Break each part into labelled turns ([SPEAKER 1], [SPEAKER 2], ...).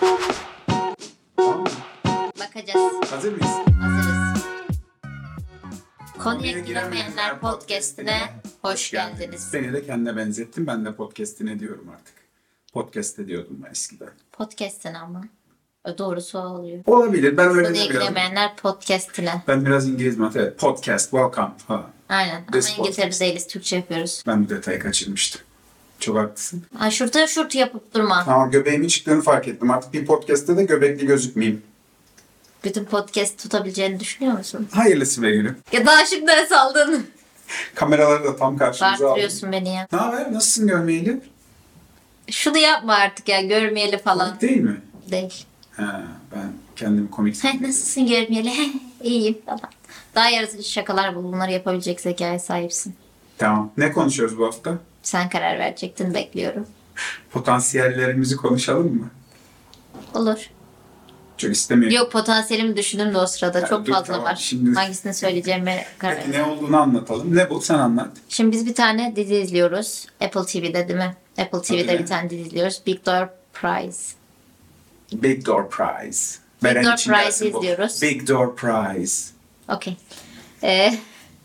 [SPEAKER 1] Tamam mı?
[SPEAKER 2] Bakacağız.
[SPEAKER 1] Hazır mıyız?
[SPEAKER 2] Hazırız. Konuya giremeyenler podcastine hoş geldiniz.
[SPEAKER 1] Seni de kendine benzettim. Ben de podcast'ine diyorum artık. Podcast'te diyordum ben eskiden.
[SPEAKER 2] Podcast'ine ama. E, Doğrusu o oluyor.
[SPEAKER 1] Olabilir. Ben öyle
[SPEAKER 2] Konuya
[SPEAKER 1] de biraz.
[SPEAKER 2] giremeyenler podcast'ine.
[SPEAKER 1] Ben biraz İngiliz mat. Evet. Podcast. Welcome. Ha.
[SPEAKER 2] Aynen. Ama
[SPEAKER 1] This
[SPEAKER 2] İngiltere'de değiliz. Türkçe yapıyoruz.
[SPEAKER 1] Ben bu detayı kaçırmıştım. Çok haklısın.
[SPEAKER 2] Ay şurta şurt yapıp durma.
[SPEAKER 1] Ama göbeğimin çıktığını fark ettim. Artık bir podcast'te de göbekli gözükmeyeyim.
[SPEAKER 2] Bütün podcast tutabileceğini düşünüyor musun?
[SPEAKER 1] Hayırlısı be gülüm.
[SPEAKER 2] Ya daha şimdiden saldın.
[SPEAKER 1] Kameraları da tam karşımıza aldım.
[SPEAKER 2] Bağırtırıyorsun beni ya.
[SPEAKER 1] Ne haber? Nasılsın görmeyeli?
[SPEAKER 2] Şunu yapma artık ya. Görmeyeli falan.
[SPEAKER 1] Komik Değil mi?
[SPEAKER 2] Değil.
[SPEAKER 1] Ha, ben kendimi komik
[SPEAKER 2] Heh,
[SPEAKER 1] sanıyorum.
[SPEAKER 2] nasılsın görmeyeli? Heh, iyiyim falan. Daha yaratıcı şakalar bul. Bunları yapabilecek zekaya sahipsin.
[SPEAKER 1] Tamam. Ne konuşuyoruz bu hafta?
[SPEAKER 2] Sen karar verecektin. Bekliyorum.
[SPEAKER 1] Potansiyellerimizi konuşalım mı?
[SPEAKER 2] Olur.
[SPEAKER 1] Çok istemiyorum.
[SPEAKER 2] Yok potansiyelimi düşündüm de o sırada.
[SPEAKER 1] Ha,
[SPEAKER 2] Çok
[SPEAKER 1] dur,
[SPEAKER 2] fazla
[SPEAKER 1] tamam.
[SPEAKER 2] var.
[SPEAKER 1] Şimdi-
[SPEAKER 2] Hangisini söyleyeceğime karar
[SPEAKER 1] Peki
[SPEAKER 2] verdim.
[SPEAKER 1] ne olduğunu anlatalım. Ne bu? Sen anlat.
[SPEAKER 2] Şimdi biz bir tane dizi izliyoruz. Apple TV'de değil mi? Apple TV'de
[SPEAKER 1] Öyle.
[SPEAKER 2] bir tane dizi izliyoruz. Big Door Prize.
[SPEAKER 1] Big Door Prize.
[SPEAKER 2] Big
[SPEAKER 1] Beren
[SPEAKER 2] Door
[SPEAKER 1] için gelsin
[SPEAKER 2] Prize'i
[SPEAKER 1] bu.
[SPEAKER 2] izliyoruz.
[SPEAKER 1] Big Door Prize.
[SPEAKER 2] Okey. Ee,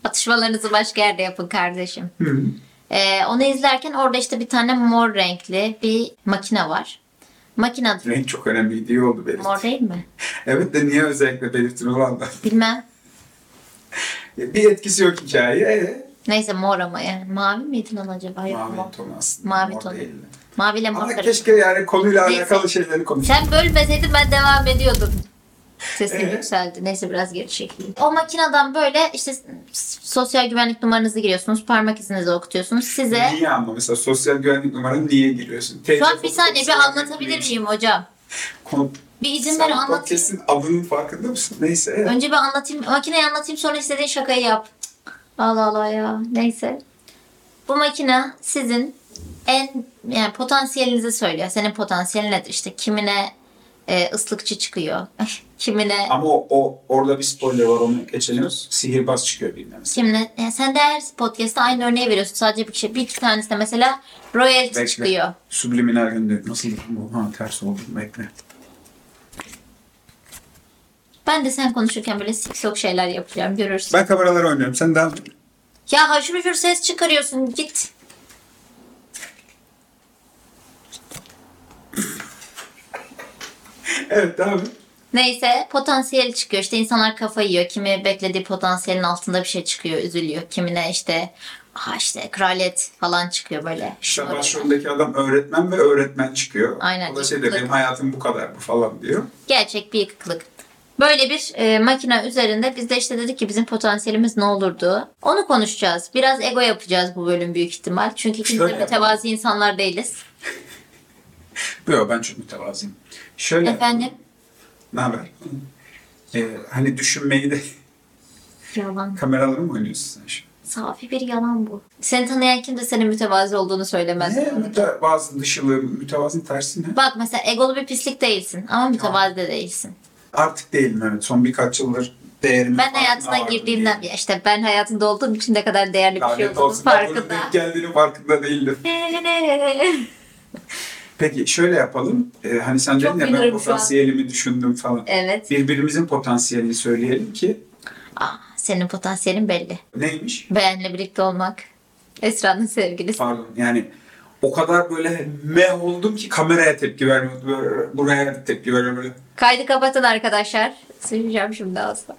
[SPEAKER 2] atışmalarınızı başka yerde yapın kardeşim.
[SPEAKER 1] Hı.
[SPEAKER 2] Ee, onu izlerken orada işte bir tane mor renkli bir makine var. Makine
[SPEAKER 1] Renk çok önemli iyi oldu belirtti.
[SPEAKER 2] mor değil mi?
[SPEAKER 1] Evet de niye özellikle belirttin ulan da?
[SPEAKER 2] Bilmem.
[SPEAKER 1] Bir etkisi yok hikayeye. Ee,
[SPEAKER 2] Neyse mor ama yani. Mavi miydi lan acaba? Yok, mor.
[SPEAKER 1] mavi ton aslında.
[SPEAKER 2] Mavi
[SPEAKER 1] mor
[SPEAKER 2] ton.
[SPEAKER 1] değil de.
[SPEAKER 2] Maviyle mor
[SPEAKER 1] Ama
[SPEAKER 2] karışık.
[SPEAKER 1] keşke yani konuyla
[SPEAKER 2] Neyse.
[SPEAKER 1] alakalı şeyleri konuşalım.
[SPEAKER 2] Sen bölmeseydin ben devam ediyordum. Sesin
[SPEAKER 1] Ee?
[SPEAKER 2] yükseldi. Neyse biraz geri çekeyim. O makineden böyle işte s- sosyal güvenlik numaranızı giriyorsunuz. Parmak izinizi okutuyorsunuz. Size
[SPEAKER 1] Niye anla mesela sosyal güvenlik numaranı niye giriyorsun? TC
[SPEAKER 2] şu an bir
[SPEAKER 1] fotoğrafı
[SPEAKER 2] saniye bir
[SPEAKER 1] sosyal
[SPEAKER 2] anlatabilir
[SPEAKER 1] güvenlik
[SPEAKER 2] miyim hocam?
[SPEAKER 1] Konu...
[SPEAKER 2] Bir izin ver
[SPEAKER 1] Sen
[SPEAKER 2] anlatayım.
[SPEAKER 1] podcast'in adının farkında mısın? Neyse. evet.
[SPEAKER 2] Önce bir anlatayım. Makineyi anlatayım sonra istediğin şakayı yap. Cık, Allah Allah ya. Neyse. Bu makine sizin en yani potansiyelinizi söylüyor. Senin potansiyelin nedir? İşte kimine e, ıslıkçı çıkıyor. kimine
[SPEAKER 1] Ama o, o orada bir spoiler var onu geçelim.
[SPEAKER 2] Sus.
[SPEAKER 1] Sihirbaz çıkıyor bilmem.
[SPEAKER 2] Kimle? Yani sen de her podcast'ta aynı örneği veriyorsun. Sadece bir kişi. Bir iki tanesi de mesela royalty
[SPEAKER 1] Bekle.
[SPEAKER 2] çıkıyor.
[SPEAKER 1] Subliminal gönderi. Nasıl bu? Ha ters oldu. Bekle.
[SPEAKER 2] Ben de sen konuşurken böyle sik sok şeyler yapacağım. Görürsün.
[SPEAKER 1] Ben kameraları oynuyorum. Sen daha...
[SPEAKER 2] Ya haşır huşur ses çıkarıyorsun. Git.
[SPEAKER 1] Evet devam et.
[SPEAKER 2] Neyse potansiyel çıkıyor. İşte insanlar kafayı yiyor. Kimi beklediği potansiyelin altında bir şey çıkıyor. Üzülüyor. Kimine işte aha işte kraliyet falan çıkıyor böyle.
[SPEAKER 1] İşte
[SPEAKER 2] Böyle.
[SPEAKER 1] başrolündeki adam öğretmen ve öğretmen çıkıyor.
[SPEAKER 2] Aynen,
[SPEAKER 1] O da şey de
[SPEAKER 2] yıkıklık.
[SPEAKER 1] benim hayatım bu kadar bu falan diyor.
[SPEAKER 2] Gerçek bir yıkıklık. Böyle bir e, makine üzerinde biz de işte dedik ki bizim potansiyelimiz ne olurdu? Onu konuşacağız. Biraz ego yapacağız bu bölüm büyük ihtimal. Çünkü kimse
[SPEAKER 1] Şöyle
[SPEAKER 2] mütevazi insanlar değiliz.
[SPEAKER 1] Yok ben çok mütevazıyım. Şöyle.
[SPEAKER 2] Efendim?
[SPEAKER 1] Ne haber? Ee, hani düşünmeyi de
[SPEAKER 2] Yalan.
[SPEAKER 1] kameraları mı oynuyorsun sen şimdi?
[SPEAKER 2] Safi bir yalan bu. Seni tanıyan kimse senin mütevazi olduğunu söylemez.
[SPEAKER 1] Ne? Mütevazı dışılığı, mütevazının tersi ne?
[SPEAKER 2] Bak mesela egolu bir pislik değilsin ama mütevazi de değilsin.
[SPEAKER 1] Artık değilim evet. Son birkaç yıldır değerimi
[SPEAKER 2] Ben
[SPEAKER 1] farkına
[SPEAKER 2] hayatına
[SPEAKER 1] vardım
[SPEAKER 2] girdiğimden
[SPEAKER 1] diyelim.
[SPEAKER 2] ya işte ben hayatında olduğum için ne kadar değerli bir şey
[SPEAKER 1] Lanet
[SPEAKER 2] olduğunun
[SPEAKER 1] olsun ben bunun
[SPEAKER 2] farkında.
[SPEAKER 1] denk geldiğinin farkında değildim. Peki şöyle yapalım. Ee, hani sen
[SPEAKER 2] Çok
[SPEAKER 1] dedin ya ben
[SPEAKER 2] bilirim şu an.
[SPEAKER 1] potansiyelimi düşündüm falan.
[SPEAKER 2] evet.
[SPEAKER 1] Birbirimizin potansiyelini söyleyelim ki
[SPEAKER 2] Aa, senin potansiyelin belli.
[SPEAKER 1] neymiş?
[SPEAKER 2] Benle birlikte olmak. Esra'nın sevgilisi.
[SPEAKER 1] Pardon yani o kadar böyle meh oldum ki kameraya tepki vermiyordu. Böyle, buraya tepki veriyor böyle.
[SPEAKER 2] Kaydı kapatın arkadaşlar. Söyleyeceğim şimdi asla.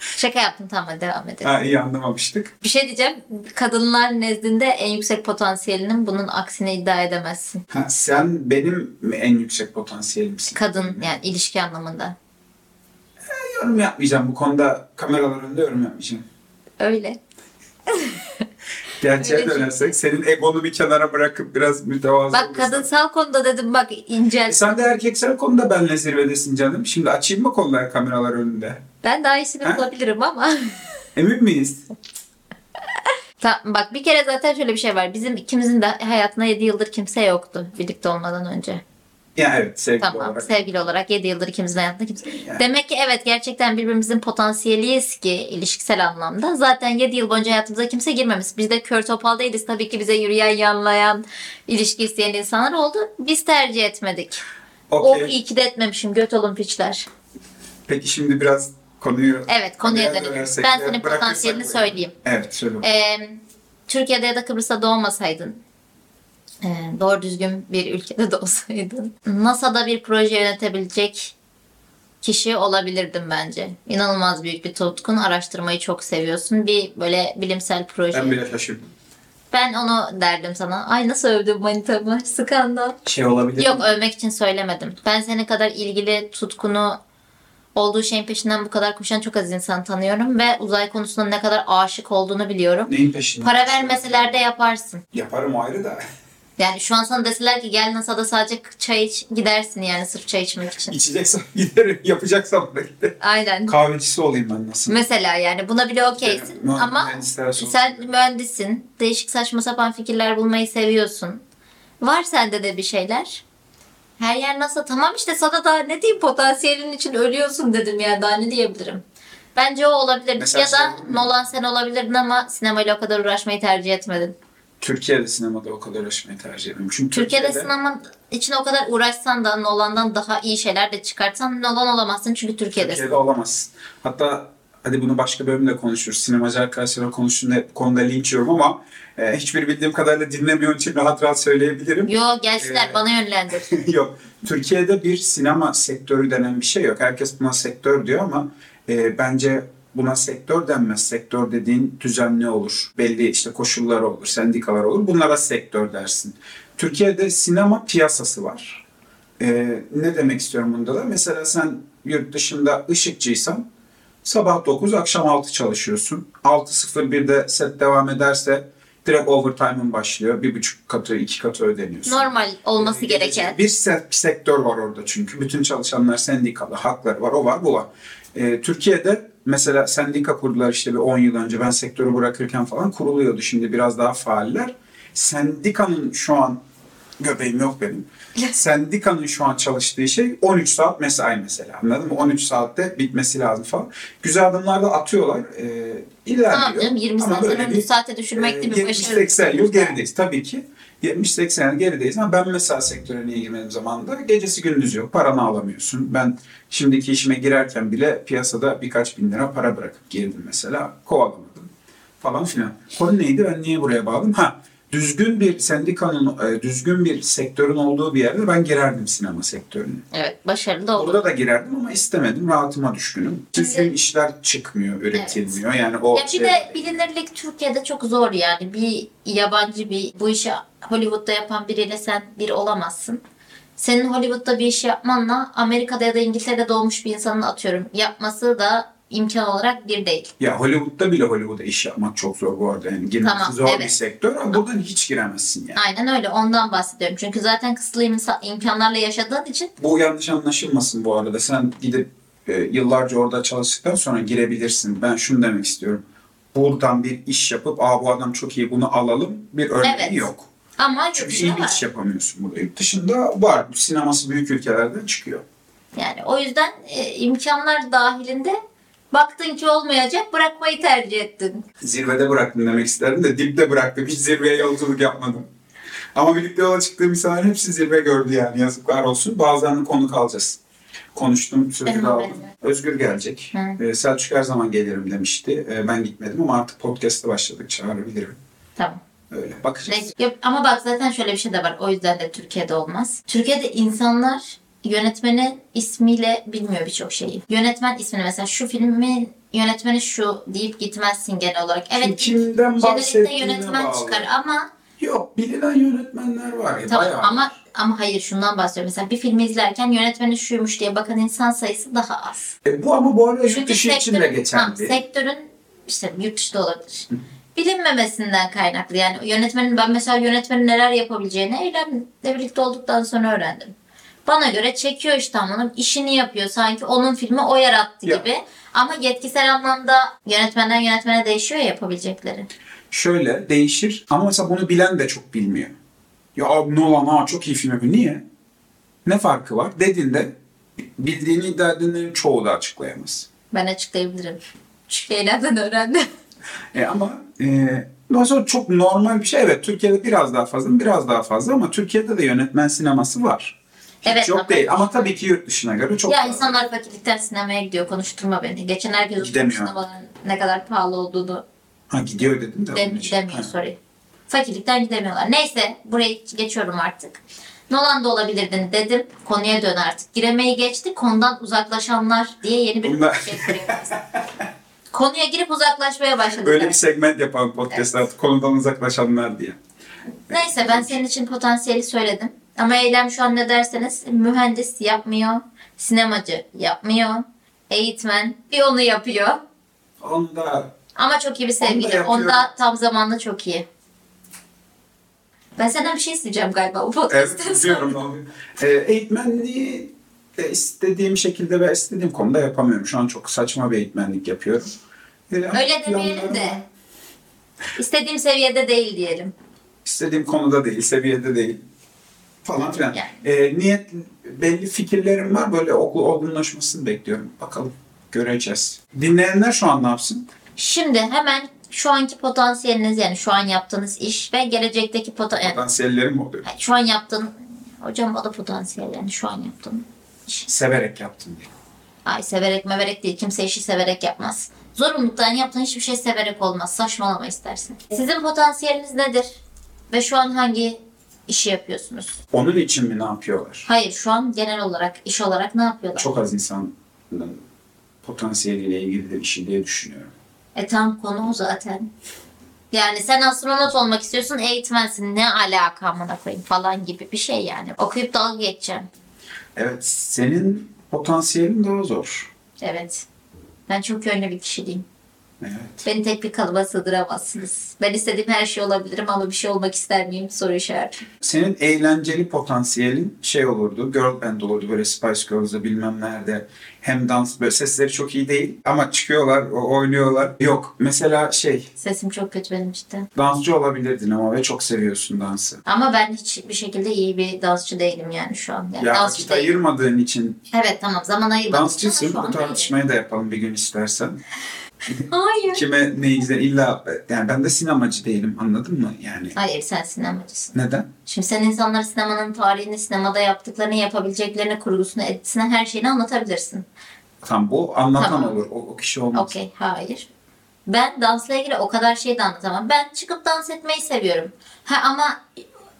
[SPEAKER 2] Şaka yaptım tamam hadi devam edelim.
[SPEAKER 1] Ha, iyi anlamamıştık.
[SPEAKER 2] Bir şey diyeceğim. Kadınlar nezdinde en yüksek potansiyelinin bunun aksine iddia edemezsin.
[SPEAKER 1] Ha, sen benim mi en yüksek potansiyelimsin.
[SPEAKER 2] Kadın yani ilişki anlamında.
[SPEAKER 1] Yorum yapmayacağım bu konuda kameralar önünde yorum yapmayacağım.
[SPEAKER 2] Öyle.
[SPEAKER 1] Gerçeğe
[SPEAKER 2] Öyle
[SPEAKER 1] dönersek senin egonu bir kenara bırakıp biraz mütevazı
[SPEAKER 2] Bak
[SPEAKER 1] olursan-
[SPEAKER 2] kadınsal konuda dedim bak incel.
[SPEAKER 1] E sen de erkeksel konuda benle zirvedesin canım. Şimdi açayım mı kolları kameralar önünde?
[SPEAKER 2] Ben daha iyisini
[SPEAKER 1] Ha?
[SPEAKER 2] bulabilirim ama.
[SPEAKER 1] Emin miyiz?
[SPEAKER 2] Ta- bak bir kere zaten şöyle bir şey var. Bizim ikimizin de hayatında 7 yıldır kimse yoktu birlikte olmadan önce.
[SPEAKER 1] Ya evet sevgili
[SPEAKER 2] Tamam
[SPEAKER 1] olarak.
[SPEAKER 2] sevgili olarak 7 yıldır ikimizin hayatında kimse.
[SPEAKER 1] Yani.
[SPEAKER 2] Demek ki evet gerçekten birbirimizin potansiyeliyiz ki ilişkisel anlamda. Zaten 7 yıl boyunca hayatımıza kimse girmemiş. Biz de kör topal değiliz. Tabii ki bize yürüyen yanlayan ilişki isteyen insanlar oldu. Biz tercih etmedik. Oh
[SPEAKER 1] Okey.
[SPEAKER 2] iyi ki de etmemişim göt olun piçler.
[SPEAKER 1] Peki şimdi biraz konuyu...
[SPEAKER 2] Evet konuya
[SPEAKER 1] Konuya
[SPEAKER 2] dönelim.
[SPEAKER 1] dönersek
[SPEAKER 2] Ben
[SPEAKER 1] de
[SPEAKER 2] senin
[SPEAKER 1] bırakırsak
[SPEAKER 2] potansiyelini
[SPEAKER 1] bu-
[SPEAKER 2] söyleyeyim.
[SPEAKER 1] Evet söyle. bakalım.
[SPEAKER 2] Ee, Türkiye'de ya da Kıbrıs'ta doğmasaydın, ee, doğru düzgün bir ülkede doğsaydın, NASA'da bir proje yönetebilecek kişi olabilirdim bence. İnanılmaz büyük bir tutkun, araştırmayı çok seviyorsun. Bir böyle bilimsel proje.
[SPEAKER 1] Ben
[SPEAKER 2] Ben,
[SPEAKER 1] bile şaşırdım.
[SPEAKER 2] onu derdim sana. Ay nasıl övdüm manitamı, skandal.
[SPEAKER 1] Şey olabilir
[SPEAKER 2] Yok
[SPEAKER 1] mi?
[SPEAKER 2] övmek için söylemedim. Ben senin kadar ilgili tutkunu olduğu şeyin peşinden bu kadar koşan çok az insan tanıyorum ve uzay konusunda ne kadar aşık olduğunu biliyorum.
[SPEAKER 1] Neyin peşinde?
[SPEAKER 2] Para vermeseler de yaparsın.
[SPEAKER 1] Yaparım o ayrı da.
[SPEAKER 2] Yani şu an sana deseler ki gel NASA'da sadece çay iç gidersin yani sırf çay içmek için.
[SPEAKER 1] İçeceksem giderim. Yapacaksam da giderim.
[SPEAKER 2] Aynen.
[SPEAKER 1] Kahvecisi olayım ben nasıl?
[SPEAKER 2] Mesela yani buna bile okeysin
[SPEAKER 1] Yani,
[SPEAKER 2] ama
[SPEAKER 1] mühendisler sonuçta-
[SPEAKER 2] sen mühendisin. Değişik saçma sapan fikirler bulmayı seviyorsun. Var sende de bir şeyler. Her yer NASA tamam işte sana daha ne diyeyim potansiyelin için ölüyorsun dedim yani daha ne diyebilirim. Bence o olabilir.
[SPEAKER 1] Mesela
[SPEAKER 2] ya da
[SPEAKER 1] sen-
[SPEAKER 2] Nolan sen olabilirdin ama sinemayla o kadar uğraşmayı tercih etmedin.
[SPEAKER 1] Türkiye'de sinemada o kadar uğraşmayı tercih ediyorum. Çünkü
[SPEAKER 2] Türkiye'de, sinema için o kadar uğraşsan da Nolan'dan daha iyi şeyler de çıkartsan Nolan olamazsın çünkü Türkiye'desin.
[SPEAKER 1] Türkiye'de olamaz. Hatta hadi bunu başka bölümde konuşuruz. Sinemacı arkadaşlarla konuştuğunda bu konuda linç yiyorum ama e, hiçbir bildiğim kadarıyla dinlemiyor için rahat rahat söyleyebilirim.
[SPEAKER 2] Yo gelsinler
[SPEAKER 1] Ee,
[SPEAKER 2] bana yönlendir.
[SPEAKER 1] yok. Türkiye'de bir sinema sektörü denen bir şey yok. Herkes buna sektör diyor ama e, bence buna sektör denmez. Sektör dediğin düzenli olur. Belli işte koşulları olur, sendikalar olur. Bunlara sektör dersin. Türkiye'de sinema piyasası var. E, ne demek istiyorum bunda da? Mesela sen yurt dışında ışıkçıysan sabah 9 akşam 6 çalışıyorsun. 6.01'de set devam ederse direkt overtime'ın başlıyor. Bir buçuk katı, iki katı ödeniyorsun.
[SPEAKER 2] Normal olması
[SPEAKER 1] Ee,
[SPEAKER 2] gereken.
[SPEAKER 1] Bir se- sektör var orada çünkü. Bütün çalışanlar sendikalı, hakları var, o var, bu var. Ee, Türkiye'de mesela sendika kurdular işte bir 10 yıl önce ben sektörü bırakırken falan kuruluyordu. Şimdi biraz daha faaller. Sendikanın şu an göbeğim yok benim. Sendikanın şu an çalıştığı şey 13 saat mesai mesela. Anladın mı? 13 saatte bitmesi lazım falan. Güzel adımlar da atıyorlar. Ee, ilerliyor.
[SPEAKER 2] Tamam canım 20
[SPEAKER 1] Ama
[SPEAKER 2] saat
[SPEAKER 1] böyle
[SPEAKER 2] önce
[SPEAKER 1] bir-
[SPEAKER 2] saate düşürmek de bir başarı.
[SPEAKER 1] 70-80 Ee, yıl gerideyiz tabii ki. 70-80 yıl gerideyiz ama ben mesela sektöre niye girmediğim zamanda gecesi gündüz yok. Paranı alamıyorsun. Ben şimdiki işime girerken bile piyasada birkaç bin lira para bırakıp girdim mesela. Kovalamadım falan filan. Konu neydi ben niye buraya bağladım? Ha düzgün bir sendikanın, e, düzgün bir sektörün olduğu bir yerde ben girerdim sinema sektörüne.
[SPEAKER 2] Evet başarılı da oldu.
[SPEAKER 1] Burada da girerdim ama istemedim. Rahatıma düşkünüm. Düzgün işler çıkmıyor, üretilmiyor. Yani o şey
[SPEAKER 2] Ya bir de bilinirlik Türkiye'de çok zor yani. Bir yabancı bir bu işi Hollywood'da yapan biriyle sen bir olamazsın. Senin Hollywood'da bir iş yapmanla Amerika'da ya da İngiltere'de doğmuş bir insanın atıyorum yapması da imkan olarak bir değil.
[SPEAKER 1] Ya Hollywood'da bile Hollywood'a iş yapmak çok zor bu arada. Yani girmesi
[SPEAKER 2] Tamam,
[SPEAKER 1] zor bir
[SPEAKER 2] evet.
[SPEAKER 1] sektör ama buradan hiç giremezsin yani.
[SPEAKER 2] Aynen öyle ondan bahsediyorum. Çünkü zaten kısıtlı imsa- imkanlarla yaşadığın için
[SPEAKER 1] Bu yanlış anlaşılmasın bu arada. Sen gidip e, yıllarca orada çalıştıktan sonra girebilirsin. Ben şunu demek istiyorum. Buradan bir iş yapıp Aa, bu adam çok iyi bunu alalım bir örneği
[SPEAKER 2] Evet.
[SPEAKER 1] yok.
[SPEAKER 2] ama
[SPEAKER 1] Çünkü
[SPEAKER 2] yurt dışına
[SPEAKER 1] iyi bir
[SPEAKER 2] var.
[SPEAKER 1] iş yapamıyorsun burada. Yurt dışında var. Sineması büyük ülkelerden çıkıyor.
[SPEAKER 2] Yani o yüzden e, imkanlar dahilinde baktın ki olmayacak bırakmayı tercih ettin.
[SPEAKER 1] Zirvede bıraktım demek isterdim de dipte bıraktım. Hiç zirveye yolculuk yapmadım. Ama birlikte yola çıktığım insanlar hepsi zirve gördü yani yazıklar olsun. Bazen de konuk alacağız. Konuştum, sözü
[SPEAKER 2] Evet,
[SPEAKER 1] de aldım.
[SPEAKER 2] evet.
[SPEAKER 1] Özgür gelecek.
[SPEAKER 2] Hı.
[SPEAKER 1] Ee, Selçuk her zaman gelirim demişti. Ee, Ben gitmedim ama artık podcast'ta başladık çağırabilirim.
[SPEAKER 2] Tamam.
[SPEAKER 1] Öyle bakacağız.
[SPEAKER 2] Peki. Yok, ama bak zaten şöyle bir şey de var. O yüzden de Türkiye'de olmaz. Türkiye'de insanlar yönetmeni ismiyle bilmiyor birçok şeyi. Yönetmen ismini mesela şu filmin yönetmeni şu deyip gitmezsin genel olarak.
[SPEAKER 1] Şimdi
[SPEAKER 2] Evet
[SPEAKER 1] kimden
[SPEAKER 2] genellikle
[SPEAKER 1] bahsettiğine
[SPEAKER 2] yönetmen
[SPEAKER 1] bağlı.
[SPEAKER 2] çıkar ama
[SPEAKER 1] Yok bilinen yönetmenler var ya
[SPEAKER 2] tamam
[SPEAKER 1] E, bayağı.
[SPEAKER 2] ama ama hayır şundan bahsediyorum. Mesela bir filmi izlerken yönetmeni şuymuş diye bakan insan sayısı daha az.
[SPEAKER 1] E, bu ama bu arada yurt
[SPEAKER 2] Çünkü
[SPEAKER 1] dışı için de
[SPEAKER 2] sektörün-
[SPEAKER 1] geçerli.
[SPEAKER 2] tamam, sektörün işte yurt dışı da olabilir. Bilinmemesinden kaynaklı yani yönetmenin ben mesela yönetmenin neler yapabileceğini Eylem'le birlikte olduktan sonra öğrendim. Bana göre çekiyor işte ama onun işini yapıyor sanki onun filmi o yarattı
[SPEAKER 1] Ya.
[SPEAKER 2] gibi. Ama yetkisel anlamda yönetmenden yönetmene değişiyor ya yapabilecekleri.
[SPEAKER 1] şöyle değişir ama mesela bunu bilen de çok bilmiyor. Ya abi Nolan ha çok iyi film yapıyor. Niye? Ne farkı var dediğinde bildiğini iddia edenlerin çoğu da açıklayamaz.
[SPEAKER 2] Ben açıklayabilirim. Çünkü Eylem'den öğrendim.
[SPEAKER 1] E ama e, ondan sonra çok normal bir şey. Evet Türkiye'de biraz daha fazla, biraz daha fazla ama Türkiye'de de yönetmen sineması var. Hiç
[SPEAKER 2] Evet,
[SPEAKER 1] yok
[SPEAKER 2] ama-
[SPEAKER 1] değil ama tabii ki yurt dışına göre çok
[SPEAKER 2] ya
[SPEAKER 1] daha.
[SPEAKER 2] insanlar fakirlikten sinemaya gidiyor. Konuşturma beni. Geçen herkes oturup
[SPEAKER 1] Gidemiyor.
[SPEAKER 2] sinemanın ne kadar pahalı olduğunu
[SPEAKER 1] Ha gidiyor dedim de.
[SPEAKER 2] Dem
[SPEAKER 1] onun için.
[SPEAKER 2] demiyor
[SPEAKER 1] Ha.
[SPEAKER 2] sorry. Fakirlikten gidemiyorlar. Neyse burayı geçiyorum artık. Nolan da olabilirdin dedim. Konuya dön artık. Giremeyi geçti. Konudan uzaklaşanlar diye yeni bir
[SPEAKER 1] Bunlar-
[SPEAKER 2] şey kuruyoruz. Konuya girip uzaklaşmaya başladık.
[SPEAKER 1] Böyle bir segment yapalım podcast'ta artık konudan uzaklaşanlar diye. şey-
[SPEAKER 2] Neyse ben senin için potansiyeli söyledim. Ama eylem şu an ne derseniz mühendis yapmıyor. Sinemacı yapmıyor. Eğitmen bir onu yapıyor.
[SPEAKER 1] Onu da
[SPEAKER 2] Ama çok iyi bir sevgili.
[SPEAKER 1] yapıyor.
[SPEAKER 2] Onda tam zamanlı çok iyi. Ben senden bir şey isteyeceğim galiba bu podcast'ten
[SPEAKER 1] evet,
[SPEAKER 2] sonra.
[SPEAKER 1] biliyorum. ne oluyor. E, eğitmenliği e, istediğim şekilde ve istediğim konuda yapamıyorum. Şu an çok saçma bir eğitmenlik yapıyorum. E, ama
[SPEAKER 2] Öyle demeyelim
[SPEAKER 1] planlarım-
[SPEAKER 2] de. İstediğim seviyede değil diyelim.
[SPEAKER 1] istediğim konuda değil, seviyede değil falan filan.
[SPEAKER 2] Yani.
[SPEAKER 1] Ee, niyet belli fikirlerim var. Böyle okul olgunlaşmasını bekliyorum. Bakalım göreceğiz. Dinleyenler şu an ne yapsın?
[SPEAKER 2] Şimdi hemen şu anki potansiyeliniz yani şu an yaptığınız iş ve gelecekteki potansiyel.
[SPEAKER 1] Potansiyellerim oluyor.
[SPEAKER 2] şu an yaptığın hocam o da potansiyel yani şu an yaptığın iş.
[SPEAKER 1] Severek yaptım diye.
[SPEAKER 2] Ay severek meverek değil. Kimse işi severek yapmaz. Zorunluluktan yaptığın hiçbir şey severek olmaz. Saçmalama istersen. Sizin potansiyeliniz nedir? Ve şu an hangi işi yapıyorsunuz?
[SPEAKER 1] Onun için mi ne yapıyorlar?
[SPEAKER 2] Hayır şu an genel olarak iş olarak ne yapıyorlar?
[SPEAKER 1] Çok az insanın potansiyeliyle ilgili de bir şey diye düşünüyorum.
[SPEAKER 2] E tam konu o zaten. Yani sen astronot olmak istiyorsun, eğitmensin. Ne alaka amına koyayım falan gibi bir şey yani. Okuyup dalga geçeceğim.
[SPEAKER 1] Evet senin potansiyelin daha zor.
[SPEAKER 2] Evet. Ben çok yönlü bir kişiliğim.
[SPEAKER 1] Evet.
[SPEAKER 2] Beni tek bir kalıba sığdıramazsınız. Ben istediğim her şey olabilirim ama bir şey olmak ister miyim? Soru işareti.
[SPEAKER 1] Senin eğlenceli potansiyelin şey olurdu. Girl band olurdu böyle Spice Girls'da bilmem nerede. Hem dans böyle sesleri çok iyi değil ama çıkıyorlar o- oynuyorlar. Yok mesela şey
[SPEAKER 2] Sesim çok kötü benim cidden.
[SPEAKER 1] dansçı olabilirdin ama ve çok seviyorsun dansı.
[SPEAKER 2] Ama ben hiçbir şekilde iyi bir dansçı değilim yani şu an. Yani
[SPEAKER 1] Ya
[SPEAKER 2] dansçı
[SPEAKER 1] vakit
[SPEAKER 2] değilim.
[SPEAKER 1] ayırmadığın için
[SPEAKER 2] Evet tamam zaman ayırmadım.
[SPEAKER 1] dansçısın. Bu tartışmayı da yapalım bir gün istersen.
[SPEAKER 2] Hayır.
[SPEAKER 1] Kime ne izle illa yani ben de sinemacı değilim anladın mı yani?
[SPEAKER 2] Hayır sen sinemacısın.
[SPEAKER 1] Neden?
[SPEAKER 2] Şimdi sen insanlara sinemanın tarihini, sinemada yaptıklarını, yapabileceklerini, kurgusunu, etkisini, her şeyini anlatabilirsin.
[SPEAKER 1] Tam bu anlatan
[SPEAKER 2] Tamam.
[SPEAKER 1] olur. O, o kişi olmaz.
[SPEAKER 2] Okey, hayır. Ben dansla ilgili o kadar şey de anlatamam. Ben çıkıp dans etmeyi seviyorum. Ha ama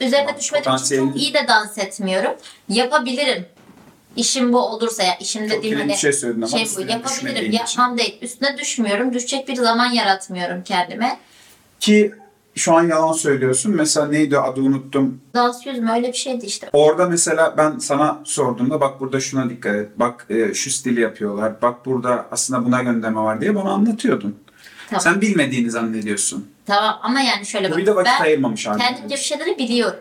[SPEAKER 2] üzerine
[SPEAKER 1] Tamam,
[SPEAKER 2] düşmediğim için
[SPEAKER 1] potansiyelin-
[SPEAKER 2] çok iyi de dans etmiyorum. Yapabilirim. İşim bu olursa ya işim
[SPEAKER 1] Çok
[SPEAKER 2] dediğim
[SPEAKER 1] kilit
[SPEAKER 2] hani
[SPEAKER 1] bir şey söyledin ama
[SPEAKER 2] şey bu
[SPEAKER 1] üstüne
[SPEAKER 2] yapabilirim.
[SPEAKER 1] düşmediğin için.
[SPEAKER 2] Yapmam değil. Üstüne düşmüyorum. Düşecek bir zaman yaratmıyorum kendime.
[SPEAKER 1] Ki şu an yalan söylüyorsun. Mesela neydi adı unuttum.
[SPEAKER 2] Dans yüzme öyle bir şeydi işte.
[SPEAKER 1] Orada mesela ben sana sorduğumda bak burada şuna dikkat et, bak e, şu stili yapıyorlar, bak burada aslında buna gönderme var diye bana anlatıyordun.
[SPEAKER 2] Tamam.
[SPEAKER 1] Sen bilmediğini zannediyorsun.
[SPEAKER 2] Tamam ama yani şöyle
[SPEAKER 1] Bu
[SPEAKER 2] bak.
[SPEAKER 1] bir de vakit
[SPEAKER 2] ben-
[SPEAKER 1] ayırmamış abi.
[SPEAKER 2] Kendimce bir şeyleri biliyorum.